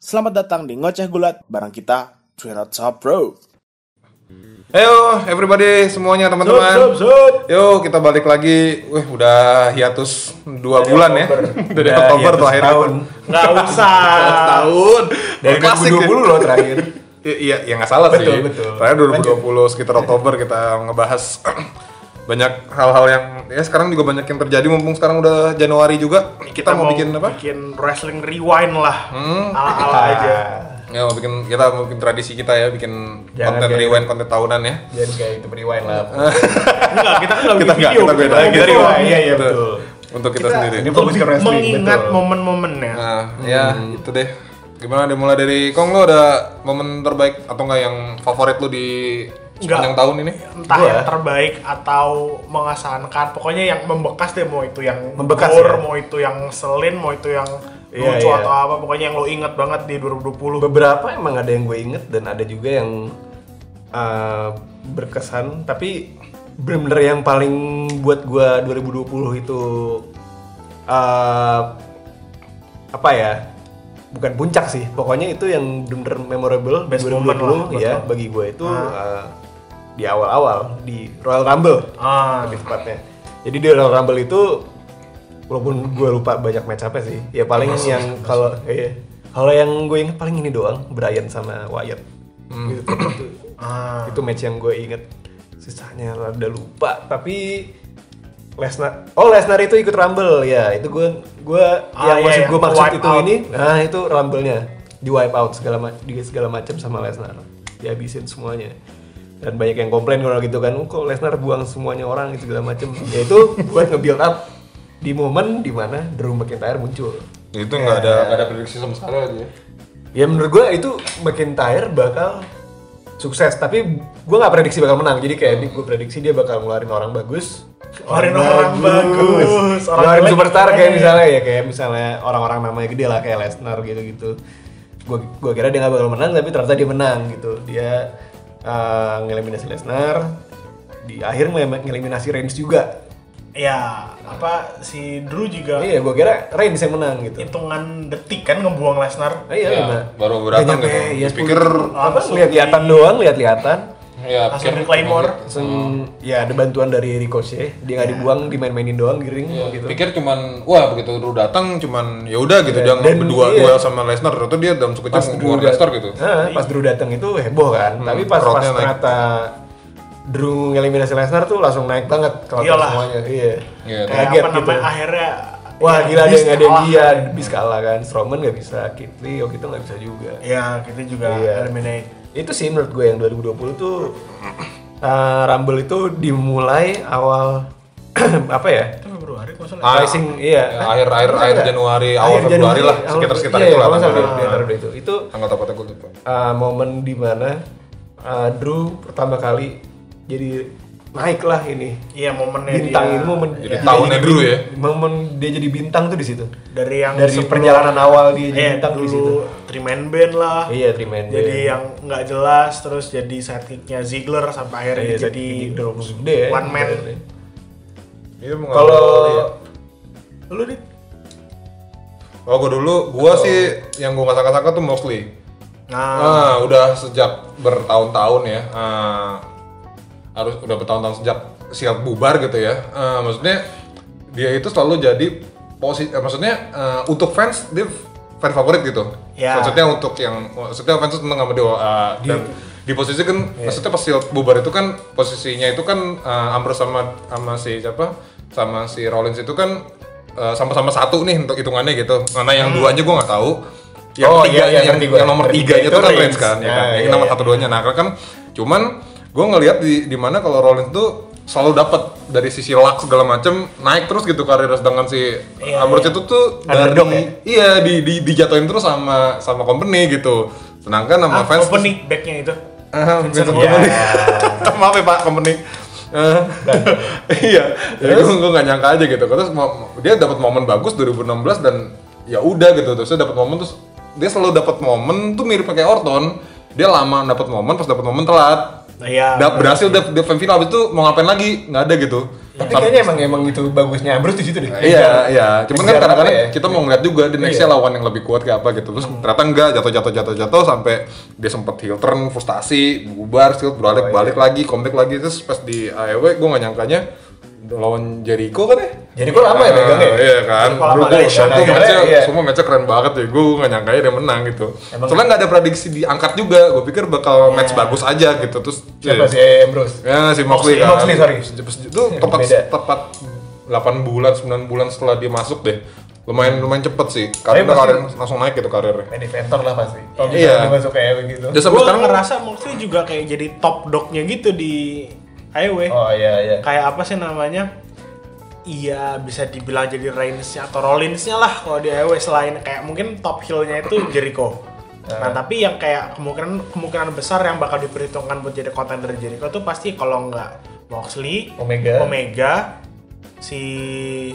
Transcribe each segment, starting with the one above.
Selamat datang di Ngoceh Gulat bareng kita We're Not So Pro. Ayo everybody semuanya teman-teman. Yo kita balik lagi. Wih udah hiatus dua bulan ya. Dari Udah Oktober hiatus terakhir setahun. Nggak usah. Tahun. Dari Klasik 2020 ya. loh terakhir. I- Iya, ya nggak salah Betul, sih. betul. Terakhir 2020 sekitar Oktober kita ngebahas banyak hal-hal yang ya sekarang juga banyak yang terjadi mumpung sekarang udah Januari juga kita, mau, bikin apa? Bikin wrestling rewind lah. Ah. Ala-ala aja. Ya mau bikin kita mau bikin tradisi kita ya bikin Jangan konten kayak- gitu. rewind konten tahunan ya. Jangan kayak itu rewind lah. Enggak, kita kan nggak Kita bikin nggak, video. kita beda. bikin Kita video. rewind. Iya iya Betul. betul. Untuk kita, sendiri. Ini Lebih fokus ke wrestling mengingat betul. momen-momennya. Nah, ya itu deh. Gimana deh mulai dari Kong lo ada momen terbaik atau enggak yang favorit lo di sepanjang Nggak. tahun ini? Entah Gua. yang terbaik atau mengesankan. Pokoknya yang membekas deh mau itu yang Membekas, gore, ya? mau itu yang selin, mau itu yang Iya, lucu iya. atau apa. Pokoknya yang lo inget banget di 2020. Beberapa emang ada yang gue inget dan ada juga yang eh, berkesan. Tapi bener-bener yang paling buat gue 2020 itu eh, apa ya? Bukan puncak sih. Pokoknya itu yang bener-bener memorable di Best moment lah, 2020 ya betul. Ah. bagi gue itu eh, di awal-awal di Royal Rumble. Ah, lebih tepatnya. Jadi di Royal Rumble itu walaupun gue lupa banyak match apa sih. Ya paling yang kalau iya. Kalau yang gue inget paling ini doang, Brian sama Wyatt. Hmm. Gitu, itu, ah. itu match yang gue inget. Sisanya rada lupa, tapi Lesnar Oh, Lesnar itu ikut Rumble ya. Itu gue gue Ah, yang iya, maksud iya. gue maksud Wipe itu out. ini. Nah, itu Rumble-nya di wipe out segala ma- di segala macam sama Lesnar. Dihabisin semuanya. Dan banyak yang komplain kalau gitu kan, "Oh, kok Lesnar buang semuanya orang gitu, segala macam. Ya itu buat nge-build up di momen dimana Drew McIntyre muncul. Itu enggak ada nggak ada prediksi sama sekali aja. ya. Ya menurut gue itu McIntyre bakal sukses, tapi gue nggak prediksi bakal menang. Jadi kayak gue prediksi dia bakal ngeluarin orang bagus. Ngeluarin orang bagus, orang Orang jelek Iya, superstar ngeluarin. kayak misalnya ya kayak misalnya orang-orang namanya gede lah kayak Lesnar gitu-gitu. Gue gue kira dia nggak bakal menang, tapi ternyata dia menang gitu. Dia eh, ngeliminasi Lesnar, di akhir ngelim- ngeliminasi Reigns juga. Ya, apa si Drew juga Iya, gue kira Reigns yang menang gitu. hitungan detik kan ngebuang Lesnar. Ah, iya, Ya, lima. baru datang gitu. Nggak nyampe, ya, Dipikir- sepuluh. apa langsung lihat-lihatan di- doang, lihat-lihatan. Ya, Langsung pikir- di Claymore. Langsung Oh. ya ada bantuan dari Ricochet, dia nggak dibuang, dimain-mainin doang giring Ya, gitu. pikir cuman wah begitu lu datang cuman ya udah gitu dia Dan berdua iya. duel sama Lesnar ternyata dia dalam sekejap Pas ngeluar dulu- Lesnar gitu. Ah, pas Drew datang itu heboh kan. Tapi pas pas crowd-nya naik. ternyata Drew ngeliminasi Lesnar tuh langsung naik banget kalau Iyalah. semuanya. Iya. Iya, Kayak Kaget apa gitu. namanya akhirnya Wah ya, gila ada yang iya. Beast ada yang kalah. dia, bis kalah kan. Strowman nggak bisa, Kit Lee waktu itu nggak bisa juga. Ya, kita juga Iya. eliminate. Itu sih menurut gue yang 2020 tuh eh, Rumble itu dimulai awal apa ya? Itu Februari kalau nggak salah. Ah, Pricing iya. ya, akhir- akhir- Bener akhir nggak? Januari, awal Februari lah, awal- sekitar-sekitar iya, itulah kalau nggak salah, tanggal. di antara dua itu. Itu Tanggal tepatnya gue lupa. uh, momen dimana uh, Drew pertama kali jadi naik lah ini. Iya momennya Bintang dia. ini momen Jadi tahunnya Drew ya. Momen dia jadi bintang tuh di situ. dari yang Dari Iya, sebelum- perjalanan awal dia jadi eh, bintang di situ. dulu three man band lah. Iya, three man band. Jadi yang nggak jelas terus jadi sidekicknya Ziggler sampai akhirnya Iya, dia jadi Drew gede ya. one man. Iya, mengawali- Kalau Lu nih Oh, gue dulu, gue sih yang gue nggak sangka-sangka tuh Moxley. Oh, nah Ah, udah sejak bertahun-tahun ya. ah, harus udah bertahun-tahun sejak siap bubar gitu ya. Ah, maksudnya dia itu selalu jadi posisi maksudnya ah, untuk fans dia fan favorit gitu. Ya. Maksudnya untuk yang maksudnya fans tuh seneng sama dia ah, dan di posisi kan Iya. maksudnya pas Shield bubar itu kan posisinya itu kan ah, Ambrose sama sama si siapa sama si Rollins itu kan ah, sama-sama satu nih untuk hitungannya gitu. Mana yang dua aja gue nggak tahu. Yang Hmm. Oh, ketiga, iya, iya, yang, ngerti gua. yang nomor Ketiga tiganya itu itu kan Reigns. Reigns kan, ya kan? Nah, yang iya, nomor iya. satu duanya. Nah, kan cuman gue ngelihat di di mana kalau Rollins tuh selalu dapat dari sisi luck segala macem naik terus gitu karirnya sedangkan si Iya, Ambrose itu tuh dari Underdog ya? iya di, di dijatuhin terus sama sama company gitu. Sedangkan sama ah, fans opening backnya itu. Ah, Vincent Company. Company. Maaf ya Pak Company. Eh, iya, ya, gue gue nggak nyangka aja gitu. Terus mo- dia dapat momen bagus 2016 dan ya udah gitu. Terus dia dapat momen terus dia selalu dapat momen tuh mirip kayak Orton. Dia lama dapat momen, pas dapat momen telat. Nah, ya. Udah berhasil udah udah fem final abis itu mau ngapain lagi nggak ada gitu Tapi Sam- kayaknya emang emang itu bagusnya Ambrose di situ deh. iya iya cuman kan Ngejar apa kadang-kadang ya? Iya. Hmm. kita mau ngeliat juga di nextnya lawan yang lebih kuat kayak apa gitu terus ternyata enggak jatuh jatuh jatuh jatuh sampai dia sempet heel turn frustasi bubar still Oh, berbalik iya. balik lagi comeback lagi terus pas di AEW gue nggak nyangkanya lawan Jericho kan ya Jericho lama Ah, ya megangnya ya? Iya kan, Jericho lama Bro, gue kali ya, shock tuh megangnya, matchnya, iya. semua matchnya keren banget ya Gue gak nyangka dia menang gitu Emang- Iya. Soalnya gak ada prediksi diangkat juga, gue pikir bakal match bagus aja gitu Terus Siapa eh, sih eh, Ambrose? Ya si Moxley Moxley, kan. Moxley, sorry. Itu tepat Beda. tepat 8 bulan 9 bulan setelah dia masuk deh. Lumayan lumayan cepet sih. Karir Tapi pasti- karir langsung naik gitu karirnya. Main inventor lah pasti. Kalau Iya. misalnya masuk kayak begitu. Dia sampai Gue sekarang ngerasa Moxley juga kayak jadi top dognya gitu di AEW. Oh iya iya. Kayak apa sih namanya? Iya bisa dibilang jadi Reigns-nya atau Rollins-nya lah kalau di AEW selain kayak mungkin top heel-nya itu Jericho. Nah tapi yang kayak kemungkinan kemungkinan besar yang bakal diperhitungkan buat jadi contender Jericho tuh pasti kalau nggak Moxley, Omega. Omega, si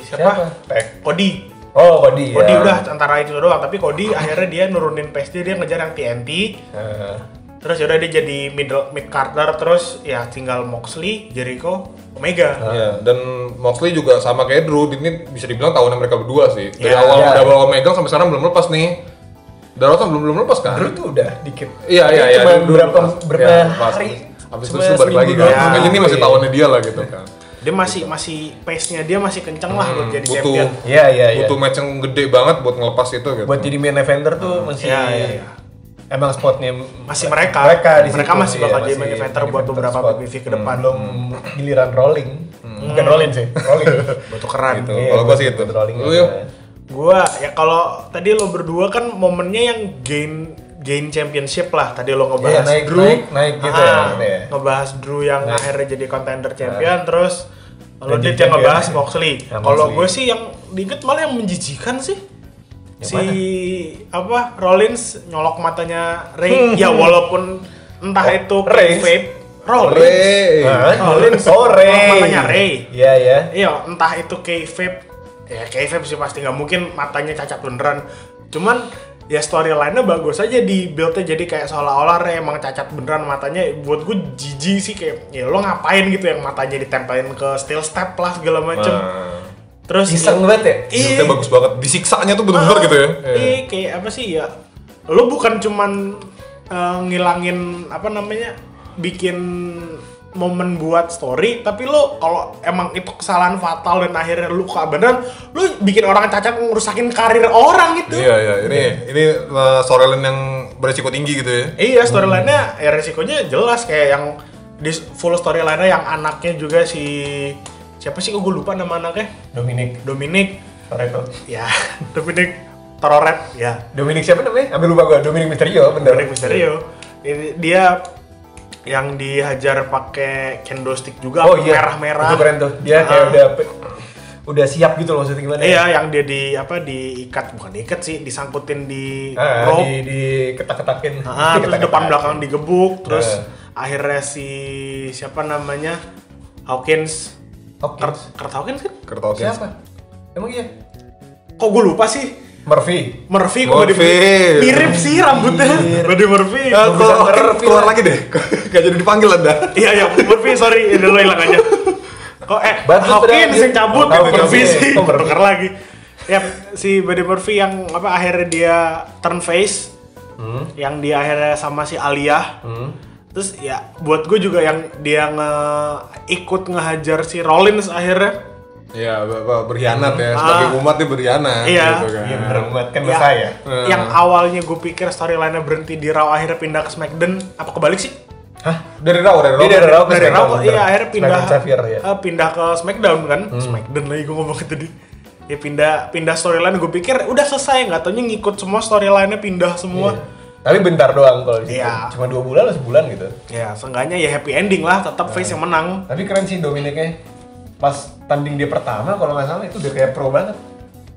Siapa? siapa? Iya. Tag. Cody. Oh, Cody. Cody ya. udah antara itu doang, tapi Cody akhirnya dia nurunin pace dia, dia ngejar yang TNT, Eh, terus yaudah dia jadi middle mid carder, terus ya tinggal Moxley, Jericho, Omega. Iya, dan Moxley juga sama kayak Drew, ini bisa dibilang tahunan mereka berdua sih. Dari Iya, awal iya. double Omega sampai sekarang belum lepas nih. Daratan belum belum lepas kan? Drew tuh udah dikit. Iya iya iya. Cuma Drew- Drew berapa lepas. berapa Iya, lepas. hari? Abis itu Cuma dia balik lagi seminggu kan. doang. Makanya ini masih Iya. tahunnya dia lah gitu kan. Dia masih masih pace nya dia masih kenceng lah Hmm, buat jadi butuh. champion. Iya iya iya. Butuh match yang gede banget buat ngelepas itu gitu. Buat jadi main eventer tuh masih Iya, iya, iya. Emang spotnya Masih mereka, mereka, di mereka situ, masih iya, bakal jadi masih main eventer main buat eventer beberapa spot. Hmm, PPV ke depan. Hmm. belum giliran rolling bukan rolling sih rolling Butuh keren. gitu. Iya, Kalau gua sih buat- itu. buat rolling Oh, Lu iya. aja. yuk. Gua ya kalau tadi lo berdua kan momennya yang gain gain championship lah. Tadi lo Iya, ngebahas naik, Drew, naik, naik gitu ya, Ah, maksudnya ya. ngebahas Drew yang akhirnya jadi contender champion terus lo dit jadi yang champion. ngebahas Moxley. Ya, kalau Moxley. gue sih yang diinget malah yang menjijikan sih. Yang si apa Rollins nyolok matanya Ray ya walaupun entah Oh, itu Ray. vape Rollins Ray. Hah? Rolling. Ah, Eh. sore Oh, matanya Ray. iya iya Iya, entah itu K-vape ya K-vape sih pasti nggak mungkin matanya cacat beneran. Cuman ya storyline-nya bagus aja di build-nya jadi kayak seolah-olah Ray emang cacat beneran matanya buat gue jijik sih kayak ya lo ngapain gitu yang matanya ditempelin ke steel step lah segala macem Nah. terus iseng banget ya Iya. iya bagus banget. Disiksanya tuh bener-bener gitu ya. Iya. Iya, kayak apa sih ya? Lo bukan cuman eh, ngilangin apa namanya? bikin momen buat story, tapi lo kalau emang itu kesalahan fatal dan akhirnya lu keabadan, lo bikin orang cacat ngerusakin karir orang gitu. Iya iya ini ini uh, storyline yang beresiko tinggi gitu ya. Iya, storyline-nya ya resikonya jelas kayak yang di full storyline-nya yang anaknya juga si siapa sih kok gue lupa nama anaknya? Dominic Dominic. Toretto Ya, Dominic Tororet ya. Dominic siapa namanya? Ambil lupa gua, Dominic Misterio bener Dominic Iya. Mysterio. Ini dia yang dihajar pakai kendo stick juga Oh iya merah-merah. Itu keren tuh Dia kayak Ah. udah pe- udah siap gitu loh maksudnya gimana Iya, yang dia di apa diikat bukan diikat sih, disangkutin di Ah, di, rope. di ketak-ketakin iya. Ah, terus Diketak-ketakin. depan belakang digebuk, terus Eh. akhirnya si siapa namanya? Hawkins. Hopkins. Kurt, Kurt Hawkins kan? Kertas Siapa? Emang iya? Kok gue lupa sih? Murphy Ah, Murphy, kok Murphy. Buddy- mirip sih rambutnya. Buddy Murphy. Ya, Bisa kalau ngerer, Hawkins keluar lagi deh. Gak jadi dipanggil Anda. Iya iya, Murphy sorry, ini lo hilang aja. Kok eh Badut Hawkins berarti. yang cabut Oh, gitu Murphy Murphy. sih. Oh, Murphy. Tukar lagi. Ya si Buddy Murphy yang apa akhirnya dia turn face. Yang dia akhirnya sama si Aliyah. Terus ya buat gue juga yang dia nge ikut ngehajar si Rollins akhirnya. Iya ber- ber- berkhianat ya sebagai Ah. umat dia berkhianat Iya. gitu kan. Iya bener banget kan Ya, saya Yang awalnya gue pikir storyline-nya berhenti di Raw akhirnya pindah ke SmackDown. Apa kebalik sih? Hah? Dari Raw dari Raw. Dia dari Raw. ke dari SmackDown, Raw, bener. iya akhirnya pindah SmackDown Xavier, ya. Hmm. eh, pindah ke Smackdown kan Smackdown lagi gue ngomong tadi ya pindah pindah storyline gue pikir udah selesai nggak taunya ngikut semua storyline-nya pindah semua Tapi bentar doang kalau di situ. Iya. Cuma dua bulan atau sebulan gitu. ya seenggaknya ya happy ending lah Iya. tetap face yang menang Tapi keren sih Dominicnya. Pas tanding dia pertama kalau nggak salah itu udah kayak pro banget.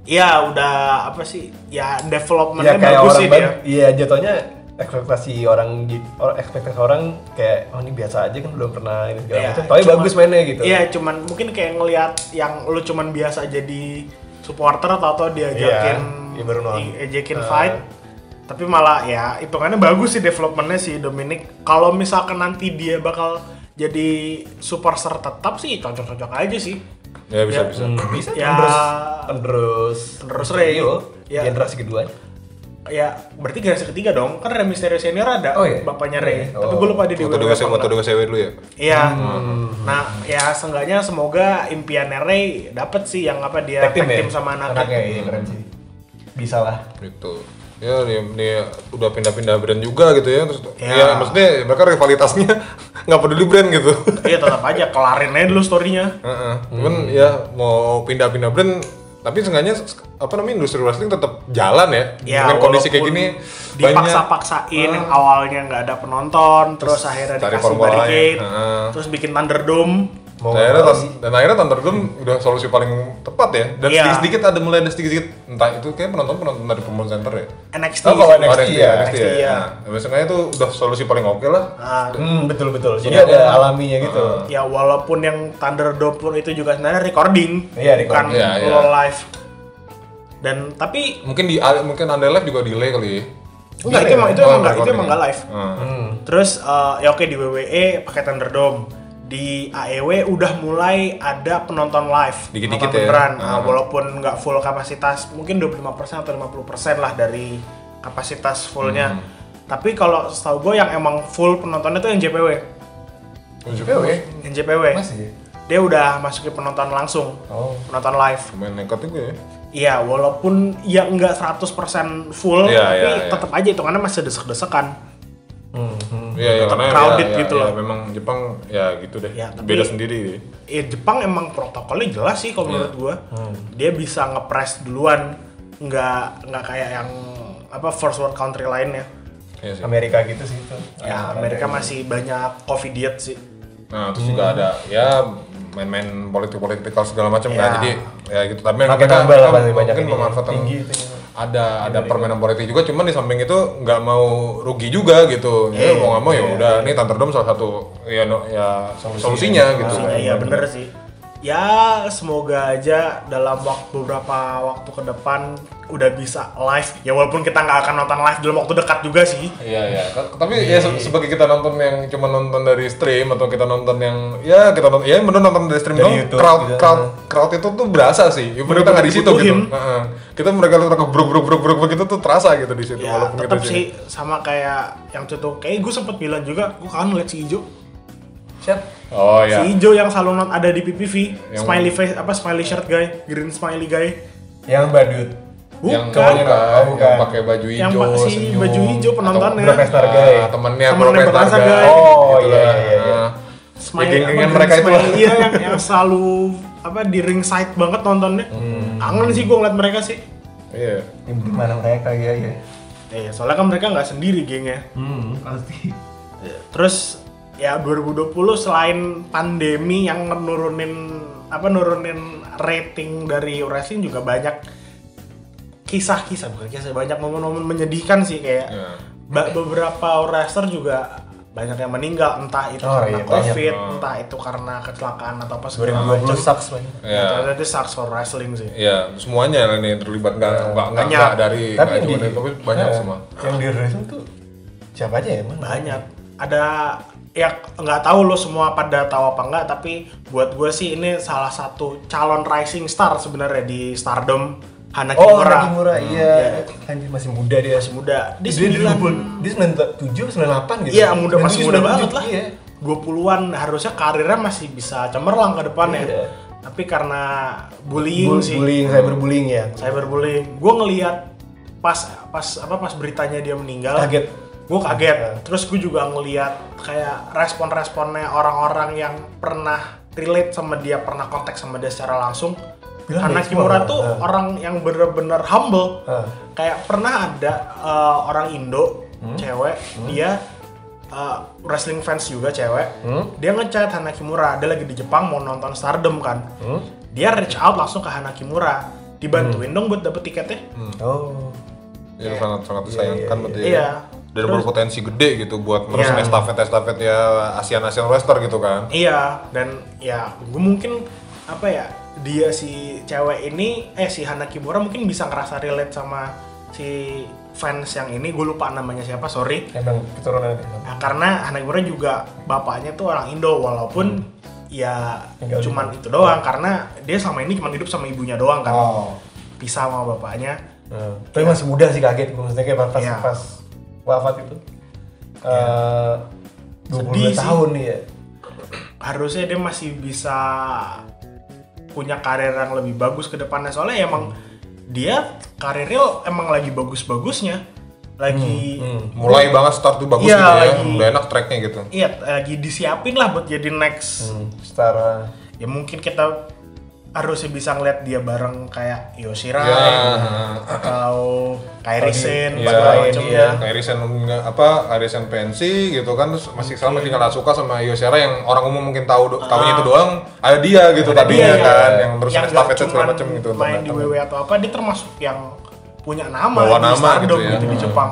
ya udah apa sih ya Iya development-nya kayak bagus orang sih banget. dia Iya jatuhnya ekspektasi orang gitu, or- ekspektasi orang kayak oh ini biasa aja kan belum pernah ini segala Iya, macam. Tapi cuman- bagus mainnya gitu. Iya, cuman mungkin kayak ngelihat yang lu cuman biasa jadi supporter atau atau diajakin Iya, iya baru nonton. diejekin Eh. fight. tapi malah ya hitungannya bagus sih developmentnya si Dominic kalau misalkan nanti dia bakal jadi superstar tetap sih cocok-cocok aja sih Ya bisa Ya, bisa. bisa Ya. terus terus Terus Rey. Ya. generasi kedua ya berarti generasi ketiga dong kan Rey Mysterio senior ada Oh, iya. Hmm, bapaknya Rey Oh. tapi gue lupa di Moto dua moto dua dulu ya. Iya. Nah, ya seenggaknya semoga impiannya Ray dapet sih yang apa dia Iya, tag team, sama ya? anaknya anaknya. iya keren sih bisa lah Gitu. Ya dia, dia udah pindah-pindah brand juga gitu ya. Terus Ya. ya, maksudnya mereka rivalitasnya nggak peduli brand gitu. Iya tetap aja kelarin aja dulu storynya. Heeh. Hmm. Cuman ya mau pindah-pindah brand tapi seenggaknya s- apa namanya industri wrestling tetap jalan ya, Ya, dengan kondisi kayak walaupun gini dipaksa-paksain yang awalnya nggak ada penonton, terus, Terus akhirnya cari dikasih formula lain. barricade, Heeh. terus bikin Thunderdome. mau dan akhirnya, nggak tan- dan akhirnya Thunderdome udah solusi paling tepat ya dan Iya. sedikit-sedikit ada mulai ada sedikit-sedikit entah itu kayak penonton penonton dari promotion center ya NXT. Oh, kalau Oh, NXT ya, NXT ya. iya. Nah, biasanya itu udah solusi paling oke lah Nah, hmm betul betul Iya, jadi ada iya. alaminya gitu ya walaupun yang Thunderdome pun itu juga sebenarnya recording, bukan Iya, recording. Iya, iya. lo live. Dan tapi mungkin di mungkin Underlife juga delay kali ya enggak itu ya? emang itu Oh, emang nggak itu recording. Ah. emang nggak live. Heeh. Terus eh, ya oke di WWE pakai Thunderdome, di AEW udah mulai ada penonton live, Dikit-dikit penonton ya. beneran. Nah, Ah. walaupun nggak full kapasitas, mungkin 25% atau 50% lah dari kapasitas fullnya. Hmm. Tapi kalau setahu gue yang emang full penontonnya tuh yang JPW, Tunjuk PW terus. yang JPW. masih Dia udah masukin penonton langsung, oh penonton live. Lumayan nekat juga ya Iya, walaupun ya nggak 100% full, Iya, tapi iya, iya. tetap aja hitungannya masih desek-desekan. Hmm, hmm. Iya, iya, Tetap karena ya, crowded ya, gitu ya, loh. memang Jepang ya gitu deh Ya, tapi- beda sendiri ya Jepang emang protokolnya jelas sih Iya. kalau menurut gua Hmm. Dia bisa ngepres duluan, nggak nggak kayak yang apa first world country lainnya. Iya sih. Amerika gitu sih itu Oh, iya, Ya Amerika masih banyak covidiot sih. Nah, terus juga Hmm. ada ya main-main politik-politikal segala macam Ya. kan. Jadi ya gitu. Tapi makin mereka- nambah lah mereka paling banyak mungkin ini. memanfaatkan tinggi itu ada ada permainan politik juga cuman di samping itu nggak mau rugi juga gitu. Ya Eh, mau nggak mau iya. ya udah nih Thunderdome salah satu ya no- ya solusinya gitu. Maksudnya iya, ya bener sih. Ya semoga aja dalam waktu beberapa waktu ke depan udah bisa live. Ya walaupun kita nggak akan nonton live dalam waktu dekat juga sih. Iya iya. Ta- Tapi ya se- sebagai kita nonton yang cuma nonton dari stream atau kita nonton yang ya kita nonton ya bener nonton dari stream Dari doang. YouTube crowd gitu. crowd crowd itu tuh berasa sih. Ya, bener kita nggak di situ gitu. dibutuhin. Heeh. Kita mereka mereka bruk bruk bruk bruk begitu tuh terasa gitu di situ Ya walaupun kita tetap di sini. sih sama kayak yang contoh kayak gue sempet bilang juga gue kangen liat si Ijo. Siap. Oh Si iya. hijau yang selalu non ada di PPV, Yang- smiley face apa smiley shirt guy, green smiley guy. yang badut yang Bukan. cowoknya kan, Oh, bukan. yang pakai baju hijau, Yang pa- si senyum, baju hijau atau penontonnya. Profesor Ah, Guy. temennya Temennya Profesor Profesor Guy. Guy. Oh, gitu iya, lah. iya, iya. Ah. Ya, Smiley geng-gengan apa, mereka itu. smiley, Iya yang, yang selalu apa di ringside banget nontonnya. Hmm. Kangen sih gue ngeliat mereka sih. Iya. yang di mana mereka ya ya Eh, soalnya kan mereka nggak sendiri gengnya. hmm pasti Terus ya 2020 selain pandemi yang nurunin apa nurunin rating dari wrestling juga banyak kisah-kisah bukan kisah banyak momen-momen menyedihkan sih kayak Iya. ba- beberapa wrestler juga banyak yang meninggal entah itu Oh, karena iya, banyak. covid entah itu karena kecelakaan atau apa segala macam 2020 sucks banget Iya. Ternyata itu sucks for wrestling sih Iya, semuanya lah ini terlibat nggak nggak nggak Iya, Banyak. eh, nggak dari tapi Iya, nggak di, cuma dari- tapi banyak Nah, semua. yang di wrestling tuh siapa aja ya emang banyak ada ya nggak tahu lo semua pada tahu apa nggak tapi buat gue sih ini salah satu calon rising star sebenarnya di Stardom Hana oh Kimura Kimura Hmm, iya anjir masih muda dia masih muda di dia sembilan 20 dia 97 98 gitu iya muda masih 97, muda banget lah iya 20-an harusnya karirnya masih bisa cemerlang ke depannya Iya. tapi karena bullying bullying, sih Hmm. bullying cyberbullying ya cyberbullying gue ngelihat pas pas apa pas beritanya dia meninggal Kaget. gue kaget Iya. terus gue juga ngelihat kayak respon-responnya orang-orang yang pernah relate sama dia pernah kontak sama dia secara langsung Bilang karena dia Kimura explore. tuh Iya. orang yang bener-bener humble Iya. kayak pernah ada eh, orang Indo Hmm? cewek dia eh, wrestling fans juga cewek Hmm? dia ngechat Hana Kimura dia lagi di Jepang mau nonton Stardom kan Hmm? dia reach out langsung ke Hana Kimura dibantuin dong buat dapet tiketnya Hmm. oh Ya, sangat sangat disayangkan berarti. iya. ya. Iya. Dan Terus- berpotensi gede gitu buat terus Iya. estafet estafet ya Asian Asian wrestler gitu kan. iya dan ya gue mungkin apa ya dia si cewek ini eh si Hana Kimura mungkin bisa ngerasa relate sama si fans yang ini gue lupa namanya siapa sorry emang keturunan itu Nah, karena anak Kimura juga bapaknya tuh orang Indo walaupun ya Tinggal di- cuman itu doang karena dia selama ini cuma hidup sama ibunya doang kan oh pisah sama bapaknya Hmm. Nah, tapi masih muda sih kaget gue maksudnya kayak pas Iya. pas wafat itu Iya. Eh, dua Sedih puluh sih. tahun nih ya harusnya dia masih bisa punya karir yang lebih bagus ke depannya soalnya emang dia karirnya emang lagi bagus-bagusnya lagi mulai banget start tuh bagus Iya, gitu ya lagi- udah enak tracknya gitu iya lagi disiapin lah buat jadi next hmm, setara ya mungkin kita harusnya bisa ngeliat dia bareng kayak Yoshirai ya atau Kairisen Iya, segala macam iya. ya. kayak Risen apa Risen pensi gitu kan terus masih sama Iya. tinggal Asuka sama Yoshara yang orang umum mungkin tahu do- tahunya itu doang ada dia gitu tadinya Ah. iya. kan yang terus yang estafet nggak segala cuman macam gitu main di E. teman-teman. WW atau apa dia termasuk yang punya nama Bawa di nama stardom gitu ya. di Hmm. Jepang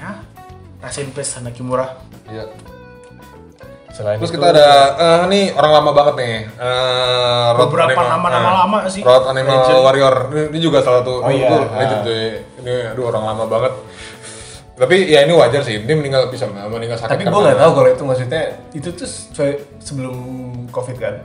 ya rasin pes anak Kimura Iya. selain Terus itu, kita ada eh, nih orang lama banget nih. Eh, Road Beberapa Animal- nama-nama eh, lama sih. Road Animal Warrior ini, ini juga salah satu. Oh dulu iya, tuh ah. legend tuh. Ini aduh orang lama banget. Tapi ya ini wajar sih. Ini meninggal bisa meninggal sakit. tapi gue nggak tahu kalau itu maksudnya itu tuh se- sebelum covid kan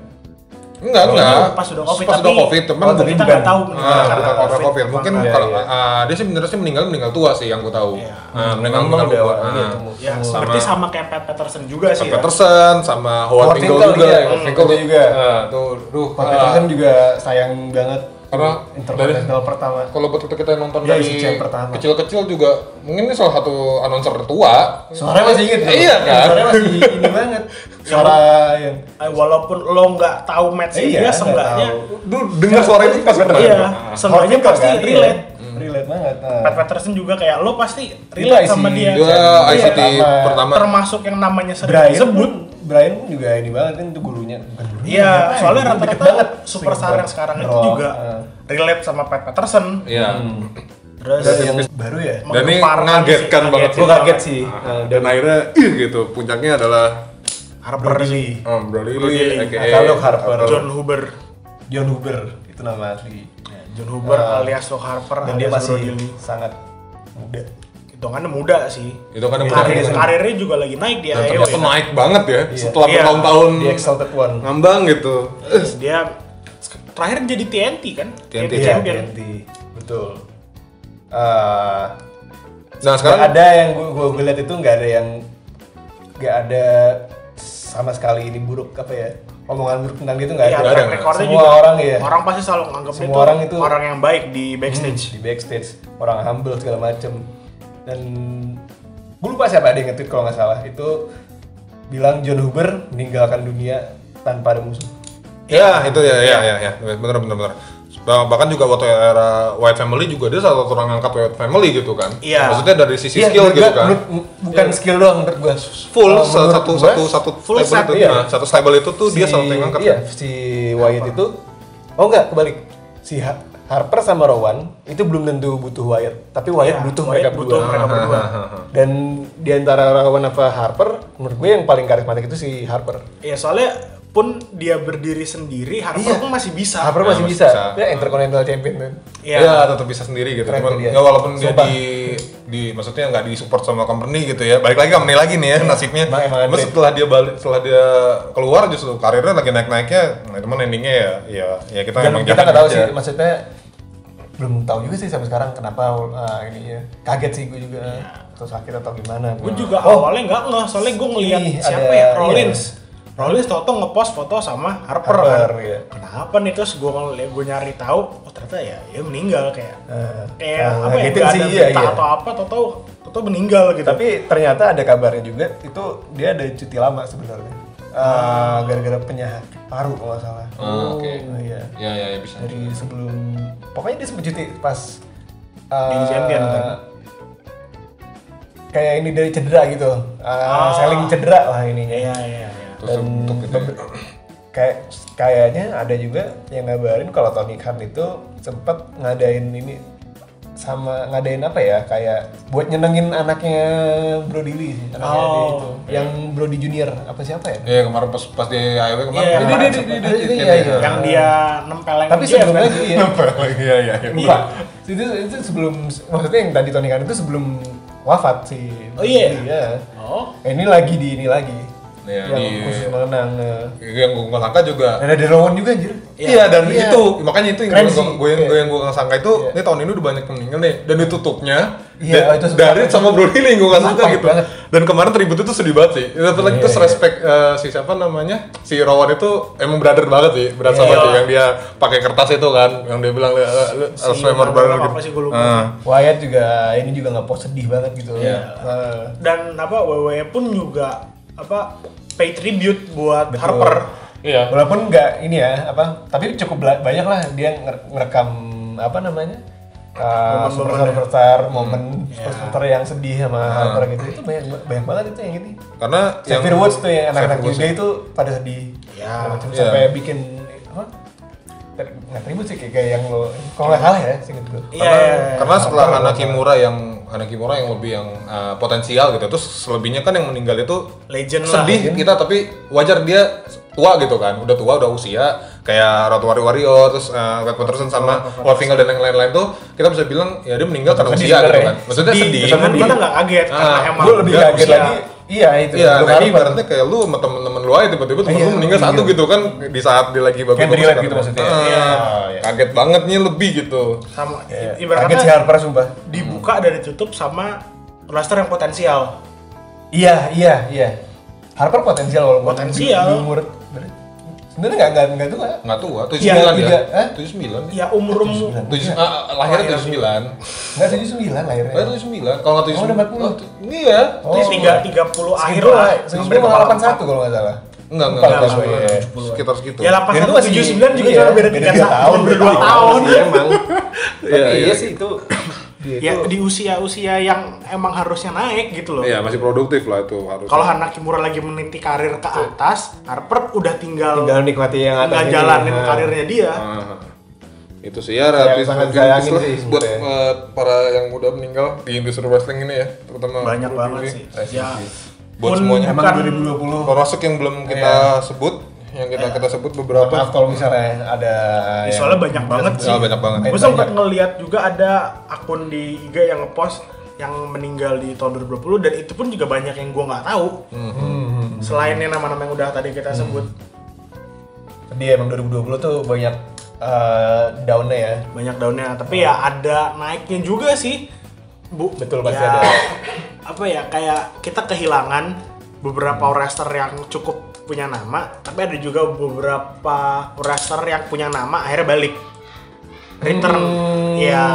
Enggak, enggak. Ini pas udah covid Ah, Pas tapi udah COVID, cuman oh, mungkin kita bukan. nggak tahu Ah, meninggal bukan karena karena covid, COVID. Mungkin Iya, kalau iya. ah, dia sih benernya sih meninggal meninggal tua sih yang gue tahu. Iya. Nah, meninggal Memang meninggal udah tua. awal, iya, Ah. temu- ya temu. seperti sama kayak Pat Patterson juga sih ya Peterson sama Howard Howard Finkel Finkel, juga. iya. Howard Hmm, Finkel itu juga. Ah, Tuh, duh. Pak ah. Peterson kan juga sayang banget Karena internasional pertama kalau buat kita kita yang nonton Iya, dari sih, yang pertama. kecil-kecil juga mungkin ini salah satu announcer tua suaranya masih inget Eh, iya kan? suaranya masih ini banget suara yang Eh, walaupun lo nggak tahu match Iya, dia nggak seenggaknya tahu. Duh, dengar suara itu pas banget iya Ah. seenggaknya Howard pasti Finkel kan, iya. relate Hmm. relate banget nah. Pat Patterson juga kayak lo pasti Itu relate sama IC. dia Dia Iya, ICT pertama. pertama termasuk yang namanya sering Brian disebut sebut Brian pun juga ini banget kan itu gurunya bukan gurunya Iya, apa ya, soalnya deket banget. rata-rata superstar yang sekarang itu Rock, juga eh. relate sama Pat Patterson. iya Hmm. Terus dan yang baru ya dan ini menggemparkan ngagetkan sih, banget gue kaget sih eh, Ah, dan akhirnya ih gitu puncaknya adalah Harper sih. um, Bro Lily, Lily aka atau Doc Harper John Huber. John Huber itu nama asli John Huber Eh, alias Doc Harper dan dia alias masih Brody Lee. sangat muda hitungannya muda sih. itu kan yang Iya. Karir, menarik. karirnya juga lagi naik Iya. di dan AEW. ternyata naik banget ya setelah Iya. bertahun-tahun The Exalted One ngambang gitu Dia terakhir jadi TNT kan? TNT. Iya, champion. TNT. betul Eh, nah nggak sekarang ada yang gue gue lihat itu nggak ada yang nggak ada sama sekali ini buruk apa ya omongan buruk tentang dia itu nggak Iya, ada, nggak ada, track nggak. recordnya Semua juga. orang ya. Orang pasti selalu nganggap dia Semua orang itu- Hmm. orang yang baik di backstage. di backstage orang humble segala macem dan gue lupa siapa ada yang nge-tweet kalau nggak salah itu bilang John Huber meninggalkan dunia tanpa ada musuh Ya, itu ya, ya, ya, ya, bener, bener, bener. Bah- Bahkan juga waktu era White Family juga dia salah satu orang angkat White Family gitu kan. Iya. Maksnya dari sisi Iya, skill menurut gitu gua- kan. menurut- Oh, bukan skill doang menurut gue Full sa- satu satu satu full stable set, itu, iya. nah, satu stable itu tuh dia salah satu kan? yang angkat. iya, si Wyatt itu oh enggak kebalik si Ha- Harper sama Rowan itu belum tentu butuh Wyatt tapi Iya, Wyatt butuh Wyatt mereka butuh berdua Iya. mereka berdua. dan di antara Rowan apa Harper menurut gue yang paling karismatik itu si Harper Ya soalnya pun dia berdiri sendiri, Harper Iya. pun masih bisa. Harper Ya, masih masih bisa, bisa. dia intercontinental champion kan Iya, tetap bisa sendiri gitu. Keren Cuman, dia. ya walaupun dia Sumpah. di di maksudnya nggak di support sama company gitu ya. Balik lagi ke company lagi nih ya nasibnya. Iya. Emang- emang Terus ada. setelah dia balik setelah dia keluar justru karirnya lagi naik-naiknya. Nah, cuman endingnya ya ya ya kita dan emang ya. kita jahat nggak tahu aja. sih maksudnya belum tahu juga sih sampai sekarang kenapa uh, ini ya kaget sih gue juga Iya. atau sakit atau gimana Gue juga awalnya nggak ngeh, soalnya gue ngeliat Oh. Ih, siapa ya, ada- iya. Rollins. Rollins tau ngepost foto sama Harper, Harper, kan. iya. Kenapa nih terus gue gue nyari tahu, oh ternyata ya dia meninggal kayak Eh, kayak eh, apa ya, ngagetin nggak sih, ada iya, berita iya. atau apa, tau tau meninggal gitu. tapi ternyata ada kabarnya juga itu dia ada cuti lama sebenarnya Eh, gara-gara penyakit paru kalau nggak salah Ah, oke. Oh, iya Ya, ya, ya bisa. dari sebelum pokoknya dia sempet cuti pas eh, Di champion, kan? kayak ini dari cedera gitu Eh, Ah. selling cedera lah ininya iya iya iya. Terus untuk gitu. ya. Beber- kayak kayaknya ada juga yang ngabarin kalau Tony Khan itu sempet ngadain ini sama ngadain apa ya kayak buat nyenengin anaknya Brody Lee sih anaknya Oh. dia itu yang Brody Junior apa siapa ya Iya kemarin pas pas di AEW kemarin. Iya, kemarin dia- sempat- dia- dia- dia- Iya, dia- iya. dia- Yang dia nempelin Eh. tapi dia, sebelumnya kan? dia Apa lagi? Iya iya. iya. enggak itu, itu sebelum maksudnya yang tadi Tony kan itu sebelum wafat si Oh, iya? Oh. Ini lagi di ini lagi. Iya, yang di- khusus mengenang eh, Iya, yang gue nggak sangka juga dan ada Rowan juga anjir. Iya dan Iya. itu makanya itu yang Keren gue sih. gue yang gue yang gue nggak sangka itu Iya. ini tahun ini udah banyak yang meninggal nih dan ditutupnya Iya, da- itu sumpah. dari sama Bro Lili gue nggak sangka Pahit gitu banget. dan kemarin tribut itu sedih banget sih itu lagi terus respect eh, si siapa namanya si Rowan itu emang brother banget sih brother sama dia yang dia pakai kertas itu kan yang dia bilang "Lu- lu- lu harus member brother apa gitu sih gua lupa. Ah. Wyatt juga ini juga nggak post sedih banget gitu. Iya. Eh, dan apa WWE pun juga apa pay tribute buat Harper iya Eh, Walaupun nggak ini ya apa, tapi cukup bela- banyak lah dia nger- ngerekam apa namanya uh, ya. superstar superstar Hmm. momen Iya. superstar yang sedih sama Harper gitu itu banyak banyak banget itu yang ini. karena Xavier Woods tuh yang anak-anak Xavier Woods ya. muda itu pada sedih Ya, Macam iya. sampai bikin apa? Ter- Nggak terima sih kayak, kayak yang lo kalau nggak salah ya singkat gue. Iya, karena, iya, iya. karena setelah anak Kimura yang anak Kimura yang lebih yang uh, potensial gitu terus selebihnya kan yang meninggal itu Legend lah, sedih kita tapi wajar dia tua gitu kan udah tua udah usia kayak Road Warrior Warrior terus uh, Red Patterson sama Wolfinger dan yang lain-lain tuh kita bisa bilang ya dia meninggal karena Sedih usia gitu sebenarnya. kan maksudnya sedih, cuman kita nggak kaget karena Ah, emang Gue lebih Nggak, kaget usia. lagi. Iya itu. Iya, Lu tapi Harper. ibaratnya kayak lu sama temen-temen lu aja tiba-tiba temen Iya, lu meninggal satu meninggal. gitu kan di saat dia lagi bagus relate gitu maksudnya. Iya. Kaget bangetnya lebih gitu. sama Iya. i- ibarat Kaget si kata Harper sumpah. dibuka dan ditutup sama roster yang potensial Iya, iya, iya. Harper potensial walaupun Potensial. di, di umur ber- sebenarnya nggak nggak nggak tua. Nggak tua, 79 Iya, ya. tiga, eh? 79 ya. ya umur umur Tujuh, ah, lahirnya 79. Nggak tujuh sembilan Lahir lahirnya. 79. Kalau nggak 79. Iya. Oh, udah 40. Oh, tu- Iya. Terus tiga tiga puluh akhir lah Sebelum malah delapan satu kalau nggak salah. Enggak, enggak, Empat enggak, lah, enggak, iya. sekitar segitu. ya delapan Dan itu satu masih- tujuh sembilan juga iya, cuma beda tiga tahun berdua tahun Iya, emang. Iya, Tapi iya. iya sih itu. ya di usia usia yang emang harusnya naik gitu loh Iya, masih produktif lah itu harus. kalau Hana Kimura lagi meniti karir ke atas Harper udah tinggal Tinggal nikmati yang atas. nggak ini. jalanin Nah. karirnya dia Ah, itu sih ya relatif Iya, sangat mungkin disayangin plus lah sih buat sebenarnya. eh, para yang udah meninggal di industri wrestling ini ya, terutama banyak Bro banget Billy. sih Rest in ya peace. Eh, buat pun semuanya. Emang bukan- 2020. Termasuk yang belum kita Iya. sebut, yang kita kita sebut beberapa. Maaf kalau misalnya ada. Ya, yang- soalnya banyak banget sih. Ya, banyak banget. Gue Banyak. sempat ngeliat juga ada akun di IG yang ngepost yang meninggal di tahun 2020 dan itu pun juga banyak yang gue nggak tahu. Mm-hmm. Selain yang nama-nama yang udah tadi kita sebut Dia emang 2020 tuh banyak eh, down-nya ya. banyak daunnya, tapi ya ada naiknya juga sih. Bu, Betul, pasti Ya, ada. Apa ya kayak kita kehilangan beberapa wrestler yang cukup punya nama, tapi ada juga beberapa wrestler yang punya nama akhirnya balik. Return Hmm. ya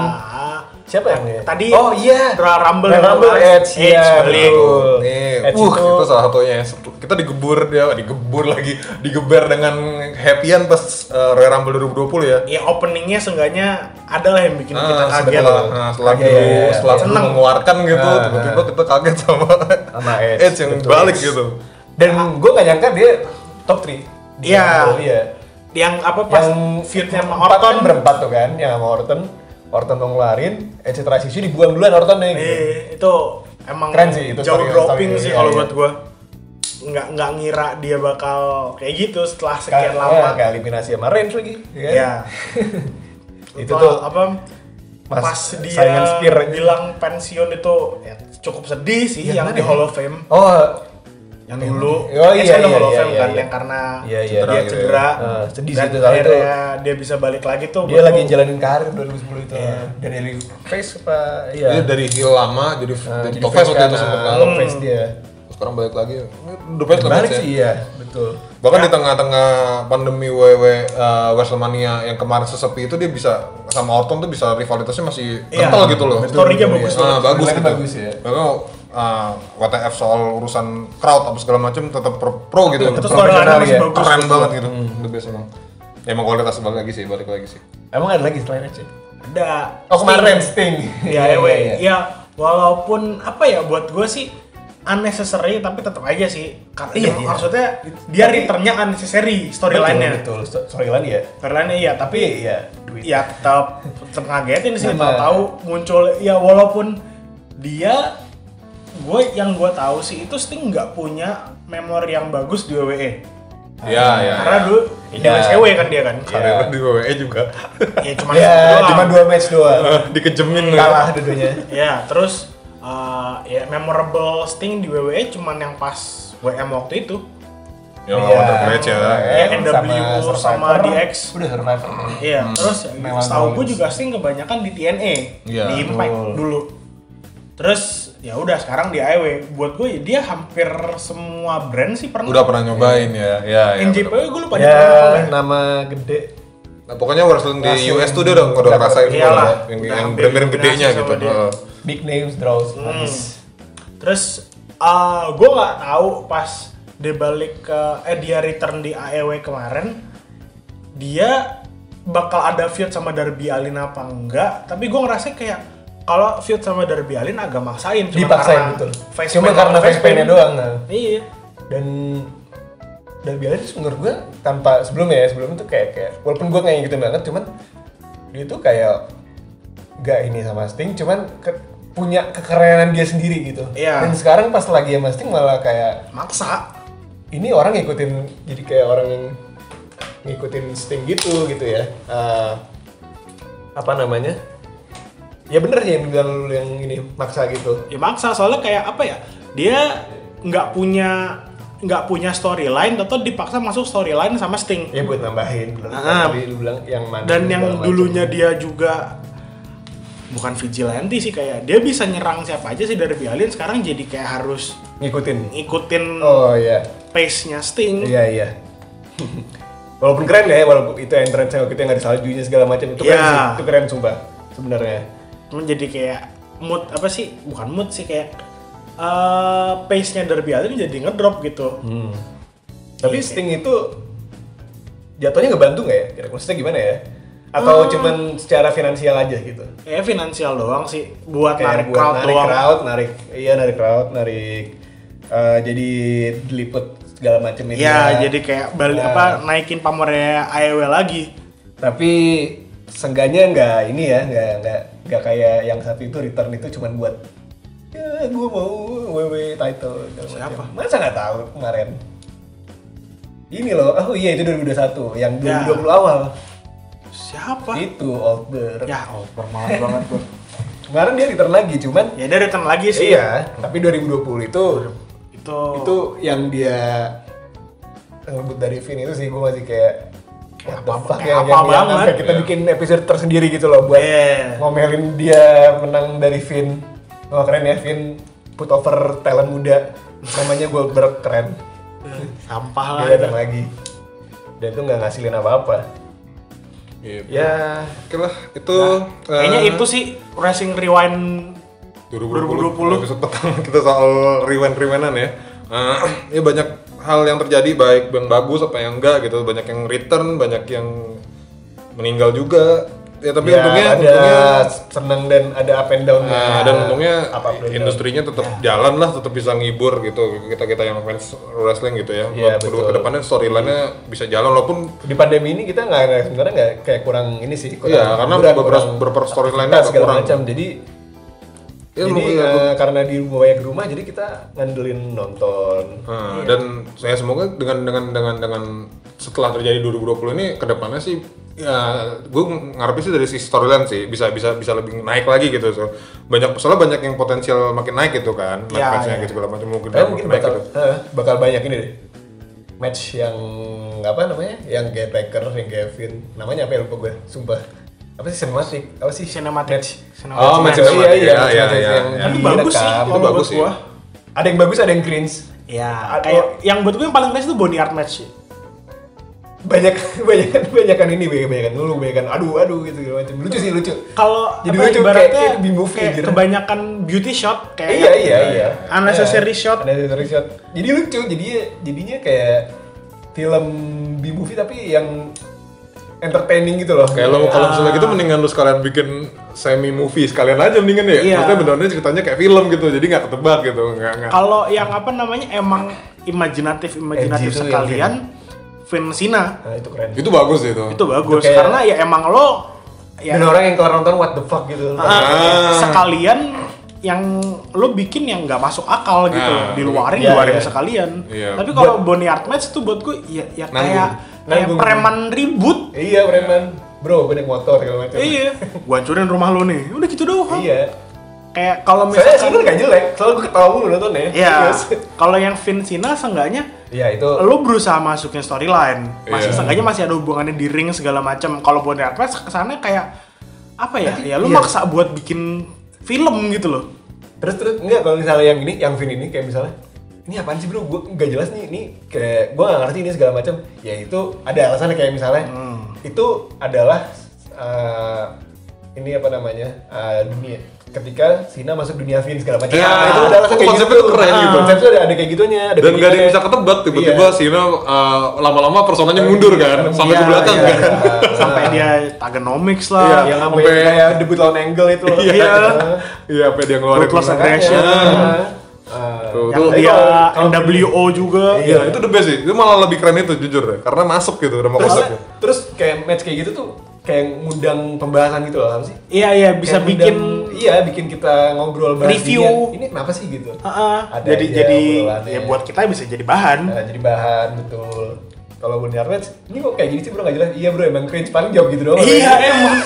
Siapa yang ini? Tadi Oh iya. Royal Rumble Royal Rumble Edge, iya, balik. betul. Eh, Nih, Edge uh, itu- itu salah satunya. Kita digebur dia, digebur lagi, digeber dengan happyan pas eh, Royal Rumble 2020 ya. Ya openingnya seenggaknya adalah yang bikin kita Ah, kaget. setelah, ah, setelah Iya, dulu, iya, iya. setelah dulu Seneng. mengeluarkan gitu, Ah, tiba-tiba kita kaget sama Sama Edge, Edge yang betul. Iya. balik gitu. Dan gue gak nyangka dia top 3 Nah. Iya. Iya. Yang apa pas Yang feudnya sama empat kan Orton berempat tuh kan, yang sama Orton. Orton mau ngelarin, Edge transisi dibuang duluan Orton nih. Gitu. Eh, itu emang Keren sih, itu jauh story- dropping story- sih iya, kalau iya. buat gua. Nggak nggak ngira dia bakal kayak gitu setelah sekian Kayak ya, lama. iya, kayak eliminasi sama Reigns lagi. ya kan? Ya. Itu tuh apa pas pas, Simon dia Spear. bilang pensiun itu ya, cukup sedih sih yang, di Hall of Fame Oh, yang dulu Oh, Edge kan iya, di iya, Hall of iya, Fame iya, kan iya. yang karena Iya, iya. dia Cedera, cedera iya. Eh, sedih dan sih itu, soalnya itu. akhirnya dia bisa balik lagi tuh dia buat lagi lu. jalanin karir 2010 itu. Iya. Dan dari face apa? Iya. Jadi dari heel lama jadi Nah, jadi jadi top face waktu kan, itu sempat nah, kan. top Hmm. face dia. Sekarang balik lagi. The best lah Balik Edge ya. sih iya, betul. Bahkan Ya. di tengah-tengah pandemi WWE uh, Wrestlemania yang kemarin sesepi itu dia bisa sama Orton tuh bisa rivalitasnya masih Iya. kental gitu loh. Betul, Story-nya bagus Ah, banget. bagus Storyline gitu. bagus ya. Lalu uh, WTF soal urusan crowd apa segala macam tetap pro, pro gitu. itu Tetap storyline profesional masih ya. bagus Hmm, keren banget gitu. The best emang. Ya, emang kualitas balik lagi sih, balik lagi sih. Emang ada lagi selain Edge? ya? ada Oh kemarin Iya, Sting. ya anyway ya walaupun apa ya buat gue sih unnecessary tapi tetap aja sih karena ya, Iya, iya. maksudnya dia returnnya unnecessary storyline-nya Betul, betul. storyline ya. storyline iya tapi Tapi ya duit. ya Iya. tetap tetap ngagetin sih Bener. tahu muncul ya walaupun dia gue yang gue tahu sih itu Sting nggak punya memori yang bagus di WWE Iya, iya. Ah, karena dulu Iya. Dengan SEW kan dia kan. Karirnya di WWE juga Ya cuma Ya, satu doang. Oh, cuma dua match doang. dikejemin Kalah dudunya. Ya, terus eh, ya memorable sting di WWE cuman yang pas WM waktu itu. ya Iya. lawan Triple H ya Oh, Ya, NWO sama Iya. Survivor. DX. Udah Survivor. Iya, Hmm. terus Memang setahu gue bagus. juga sting kebanyakan di TNA, Iya, di Impact dulu. Terus ya udah sekarang di AEW. Buat gue dia hampir semua brand sih pernah. udah pernah nyobain ya ya, ya betul. NJPW gue lupa dia Ya, pernah apa nggak. nama gede. nah, pokoknya wrestling di US tuh dia udah udah ngerasain semua Iyalah. lah, yang Udah yang hampir brand-brand gedenya dominasi gitu sama dia. Heeh. Big names draws. Hmm. Habis. Terus ah gue nggak tahu pas dia balik ke eh dia return di AEW kemarin dia bakal ada feud sama Darby Allin apa enggak tapi gue ngerasa kayak kalau feud sama Darby Allin agak maksain cuma Dipaksain karena betul. face Cuma paint karena sama face paint-nya paint. doang. Nah. iya dan dan biasanya sih menurut gue tanpa sebelumnya ya sebelumnya tuh kayak kayak walaupun gue nggak ngikutin banget cuman dia tuh kayak gak ini sama Sting cuman ke- punya kekerenan dia sendiri gitu Iya. dan sekarang pas lagi sama Sting malah kayak maksa ini orang ngikutin jadi kayak orang yang ngikutin Sting gitu gitu ya Eh, apa namanya ya bener sih yang bilang lu yang ini maksa gitu ya maksa soalnya kayak apa ya dia nggak punya nggak punya storyline atau dipaksa masuk storyline sama Sting ya buat nambahin bener Ah. tadi lu bilang yang mana dan yang segala macam. dulunya dia juga bukan vigilante sih kayak dia bisa nyerang siapa aja sih dari Alien sekarang jadi kayak harus ngikutin ngikutin Oh iya, pace-nya Sting. iya iya. walaupun keren ya, walaupun itu entrance yang kita nggak ada saljunya segala macam itu keren Iya. sih, itu keren sumpah sebenarnya. Cuman jadi kayak mood apa sih? Bukan mood sih kayak eh pace-nya Derby Allin jadi ngedrop gitu. Hmm. Tapi Iya. Sting itu jatuhnya ngebantu nggak ya? Kira- Maksudnya gimana ya? Ah. Atau cuman secara finansial aja gitu? Kayak finansial doang sih buat narik Kayak buat crowd narik doang. crowd, narik iya narik crowd, narik eh, jadi diliput segala macam itu. Ya, jadi kayak balik Nah. apa naikin pamornya AEW lagi. tapi sengganya nggak ini ya nggak nggak nggak kayak yang satu itu return itu cuman buat ya gue mau WW title segala Siapa? macam." masa nggak tahu kemarin ini loh oh iya itu 2021 yang 2020 Ya. awal Siapa? itu older Ya, Mahal banget tuh. kemarin dia return lagi cuman ya dia datang lagi sih. iya tapi 2020 itu Itu itu yang dia ngebut dari Vin itu sih gue masih kayak What the fuck ya, kayak apa yang, yang, yang banget. Ya. sampai kita bikin episode tersendiri gitu loh buat Iya. ngomelin dia menang dari Vin. Wah keren ya Vin put over talent muda namanya Goldberg keren. sampah lah. gitu. Dia datang lagi. Dan itu nggak ngasilin apa-apa. Ya Oke lah, itu Nah, Kayaknya eh, itu sih Racing Rewind 2020, episode pertama kita soal rewind-rewindan ya. Eh, ya banyak hal yang terjadi baik yang bagus apa yang enggak gitu, banyak yang return, banyak yang meninggal juga. Ya tapi Iya, ya, untungnya ada untungnya seneng dan ada up and down. Nah, dan untungnya Up, up and down. industrinya tetap jalan lah, tetap bisa ngibur gitu kita kita yang fans wrestling gitu ya. Iya, Buat kedua betul. kedepannya storyline-nya bisa jalan walaupun di pandemi ini kita nggak nggak- sebenarnya nggak kayak kurang ini sih kurang Iya, karena hiburan, beberapa- kurang beberapa storyline-nya aktivitas agak segala kurang. macam jadi ya, jadi lu- ya, lu- eh, karena di banyak ke rumah jadi kita ngandelin nonton Nah, dan saya semoga dengan dengan dengan dengan setelah terjadi 2020 ini kedepannya sih ya gue ngarepin sih dari si storyline sih bisa bisa bisa lebih naik lagi gitu so banyak soalnya banyak yang potensial makin naik gitu kan makin Ya, fansnya ya. gitu segala macam mungkin Kayaknya makin Iya, mungkin naik bakal gitu eh, bakal banyak ini deh match yang apa namanya yang kayak Taker yang Kevin namanya apa ya lupa gue sumpah apa sih cinematic apa sih Cinematic. match Cinematic Oh, match Iya, cinematic. iya, Ya, match- ya, match ya, ya. yang Tapi direkam. bagus sih Oh, kalau bagus buat sih. gua. ada yang bagus ada yang cringe Ya, Atau- kayak yang buat gua yang paling keren itu Boneyard match sih. banyak banyak banyakan ini banyakan dulu banyakan aduh aduh gitu segala macam lucu sih lucu Kalau apa, Jadi lucu, kayak- ibaratnya kayak gitu. di movie, kayak anjir. kebanyakan beauty shot kayak iya iya iya unnecessary Iya, shot. unnecessary shot jadi lucu jadi jadinya kayak film B movie tapi yang entertaining gitu loh kayak lo kalau misalnya gitu mendingan lu sekalian bikin semi movie sekalian aja mendingan ya Iya. maksudnya bener-bener ceritanya kayak film gitu jadi nggak ketebak gitu nggak nggak Kalau yang apa namanya emang imajinatif imajinatif MG itu iya, sekalian Vin Sina nah, itu keren itu bagus sih itu itu bagus kayak- karena ya emang lo ya dan orang yang kelar nonton what the fuck gitu Ah, Ah. sekalian yang lo bikin yang nggak masuk akal gitu Nah, loh, diluarin iya, luarin iya. sekalian Iya. tapi kalau Bonnie Artmatch tuh buat gue ya, ya Nanggung. kayak kayak Nanggung. preman ribut Iya, preman. Bro, gue naik motor segala macam. iya gue hancurin rumah lo nih udah gitu doang Iya. kayak kalau Saya misalnya sebenarnya nggak jelek, soalnya gue ketawa mulu nontonnya. ya Serius. kalau yang Vincina seenggaknya Iya, itu lo berusaha masukin storyline Iya. masih seenggaknya masih ada hubungannya di ring segala macam kalau buat Artmas kesannya kayak apa ya ya iya. lo maksa buat bikin film gitu loh Terus terus enggak kalau misalnya yang ini, yang Vin ini kayak misalnya ini apaan sih bro? Gue nggak jelas nih. Ini kayak gue nggak ngerti ini segala macam. Ya itu ada alasannya kayak misalnya Hmm. itu adalah eh, ini apa namanya eh, dunia ketika Sina masuk dunia Vin segala macam. Iya, Nah, itu ada alasan kayak konsepnya gitu. tuh keren gitu. Konsepnya ada, ada kayak gitunya. Ada dan kayak gak ada yang gitunya. bisa ketebak tiba-tiba Iya. Sina uh, lama-lama personanya mundur kan sampai ke Iya, belakang iya. kan sampai dia tagonomics Iya, lah yang sampai kayak debut lawan Angle itu. loh. iya iya apa dia ngeluarin Ruthless makanya. aggression. Iya. Nah, Eh, tuh, Iya, yang tuh. dia kalau- NWO juga Iya, itu the best sih. Itu malah lebih keren itu jujur deh. Karena masuk gitu, udah mau terus, masuk. terus kayak match kayak gitu tuh kayak ngundang pembahasan gitu loh apa sih? iya iya bisa Kayak bikin ngundang- iya bikin kita ngobrol bahas Review. dunia. ini kenapa sih gitu Heeh. Ada jadi aja jadi obrolannya. ya buat kita bisa jadi bahan Nah, jadi bahan betul kalau Bonnie Armets ini kok kayak gini sih bro nggak jelas iya bro emang cringe paling jawab gitu doang Iya, emang.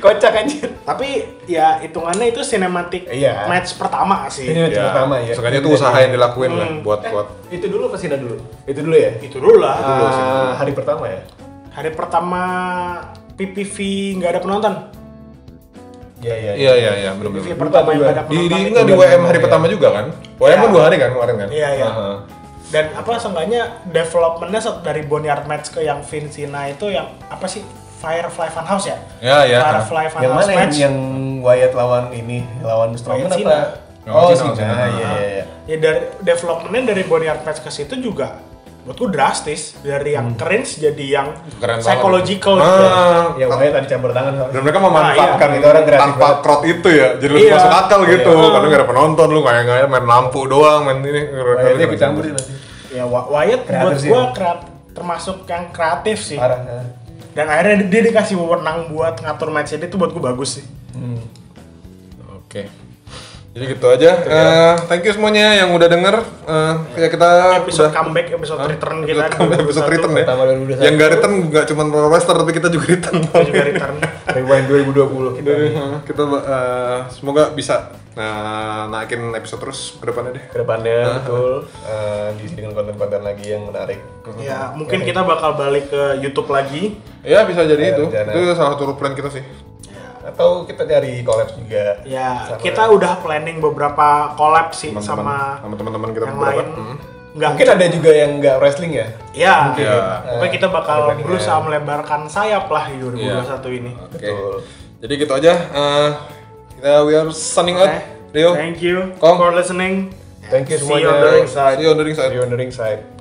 kocak anjir tapi ya hitungannya itu cinematic Iya. match pertama sih Ini match Ya, pertama ya Seenggaknya itu usaha yang dilakuin lah buat Eh, buat itu dulu apa Sina dulu itu dulu ya itu dulu lah Ah, hari pertama ya hari pertama PPV nggak ada penonton iya iya Iya, iya, iya, belum PPV belum. pertama yang juga. nggak ada Di di penonton itu enggak di bulan WM Maret hari ya. pertama juga kan? WM kan dua hari kan kemarin kan? Iya, iya. Aha. dan apa seenggaknya developmentnya se- dari Boneyard Match ke yang Vincina itu yang apa sih Firefly Funhouse ya? Ya, ya. Firefly Funhouse Iya, yang mana yang, Iya. Match. yang Wyatt lawan ini lawan Strowman Sina. apa Lawan oh Sina, Sina Sina. iya iya iya. Ya dari developmentnya dari Boneyard Match ke situ juga buatku drastis Hmm. dari yang cringe jadi yang Keren banget. psychological Ah, gitu. yang Wyatt tadi campur tangan sama dan mereka memanfaatkan Itu orang kreatif tanpa banget. crowd itu ya jadi lebih Nah, Iya. masuk akal gitu karena gak ada penonton lu kayak kayak main lampu doang main ini Wyattnya ikut campur sih nanti Ya Wa- Wyatt Kreatif buat sih. gua kreat- termasuk yang kreatif sih. parah ya. Dan akhirnya dia dikasih wewenang buat ngatur matchnya dia itu buat gua bagus sih. oke jadi gitu aja Eh, thank you semuanya yang udah denger Eh, ya kita Episode udah- comeback, episode return kita. episode, comeback, episode 2021. return ya Pertama 2021. yang gak return gak cuma pro wrestler tapi kita juga return Kita juga return. Rewind 2020 kita Jadi, eh, kita eh, semoga bisa nah, naikin episode terus ke depannya deh kedepannya betul eh, diisi dengan konten-konten lagi yang menarik. ya, mungkin kita bakal balik ke YouTube lagi. ya bisa jadi Ya, itu rencana. itu salah satu plan kita sih Atau kita cari collab juga. Ya, Sama- kita udah planning beberapa collab sih teman-teman sama sama teman-teman kita yang beberapa. lain. Hmm. Nggak, Mungkin ada juga yang nggak wrestling ya. ya. Mungkin. Ya. kita bakal Ada planning berusaha ya. melebarkan sayap lah di 2021 ini. Oke. Betul. Jadi gitu aja. eh, kita we are signing out. Oke. Rio. Thank you Kong. for listening. Thank you See you on semuanya. the ringside. See you on the ringside. See you on the ringside.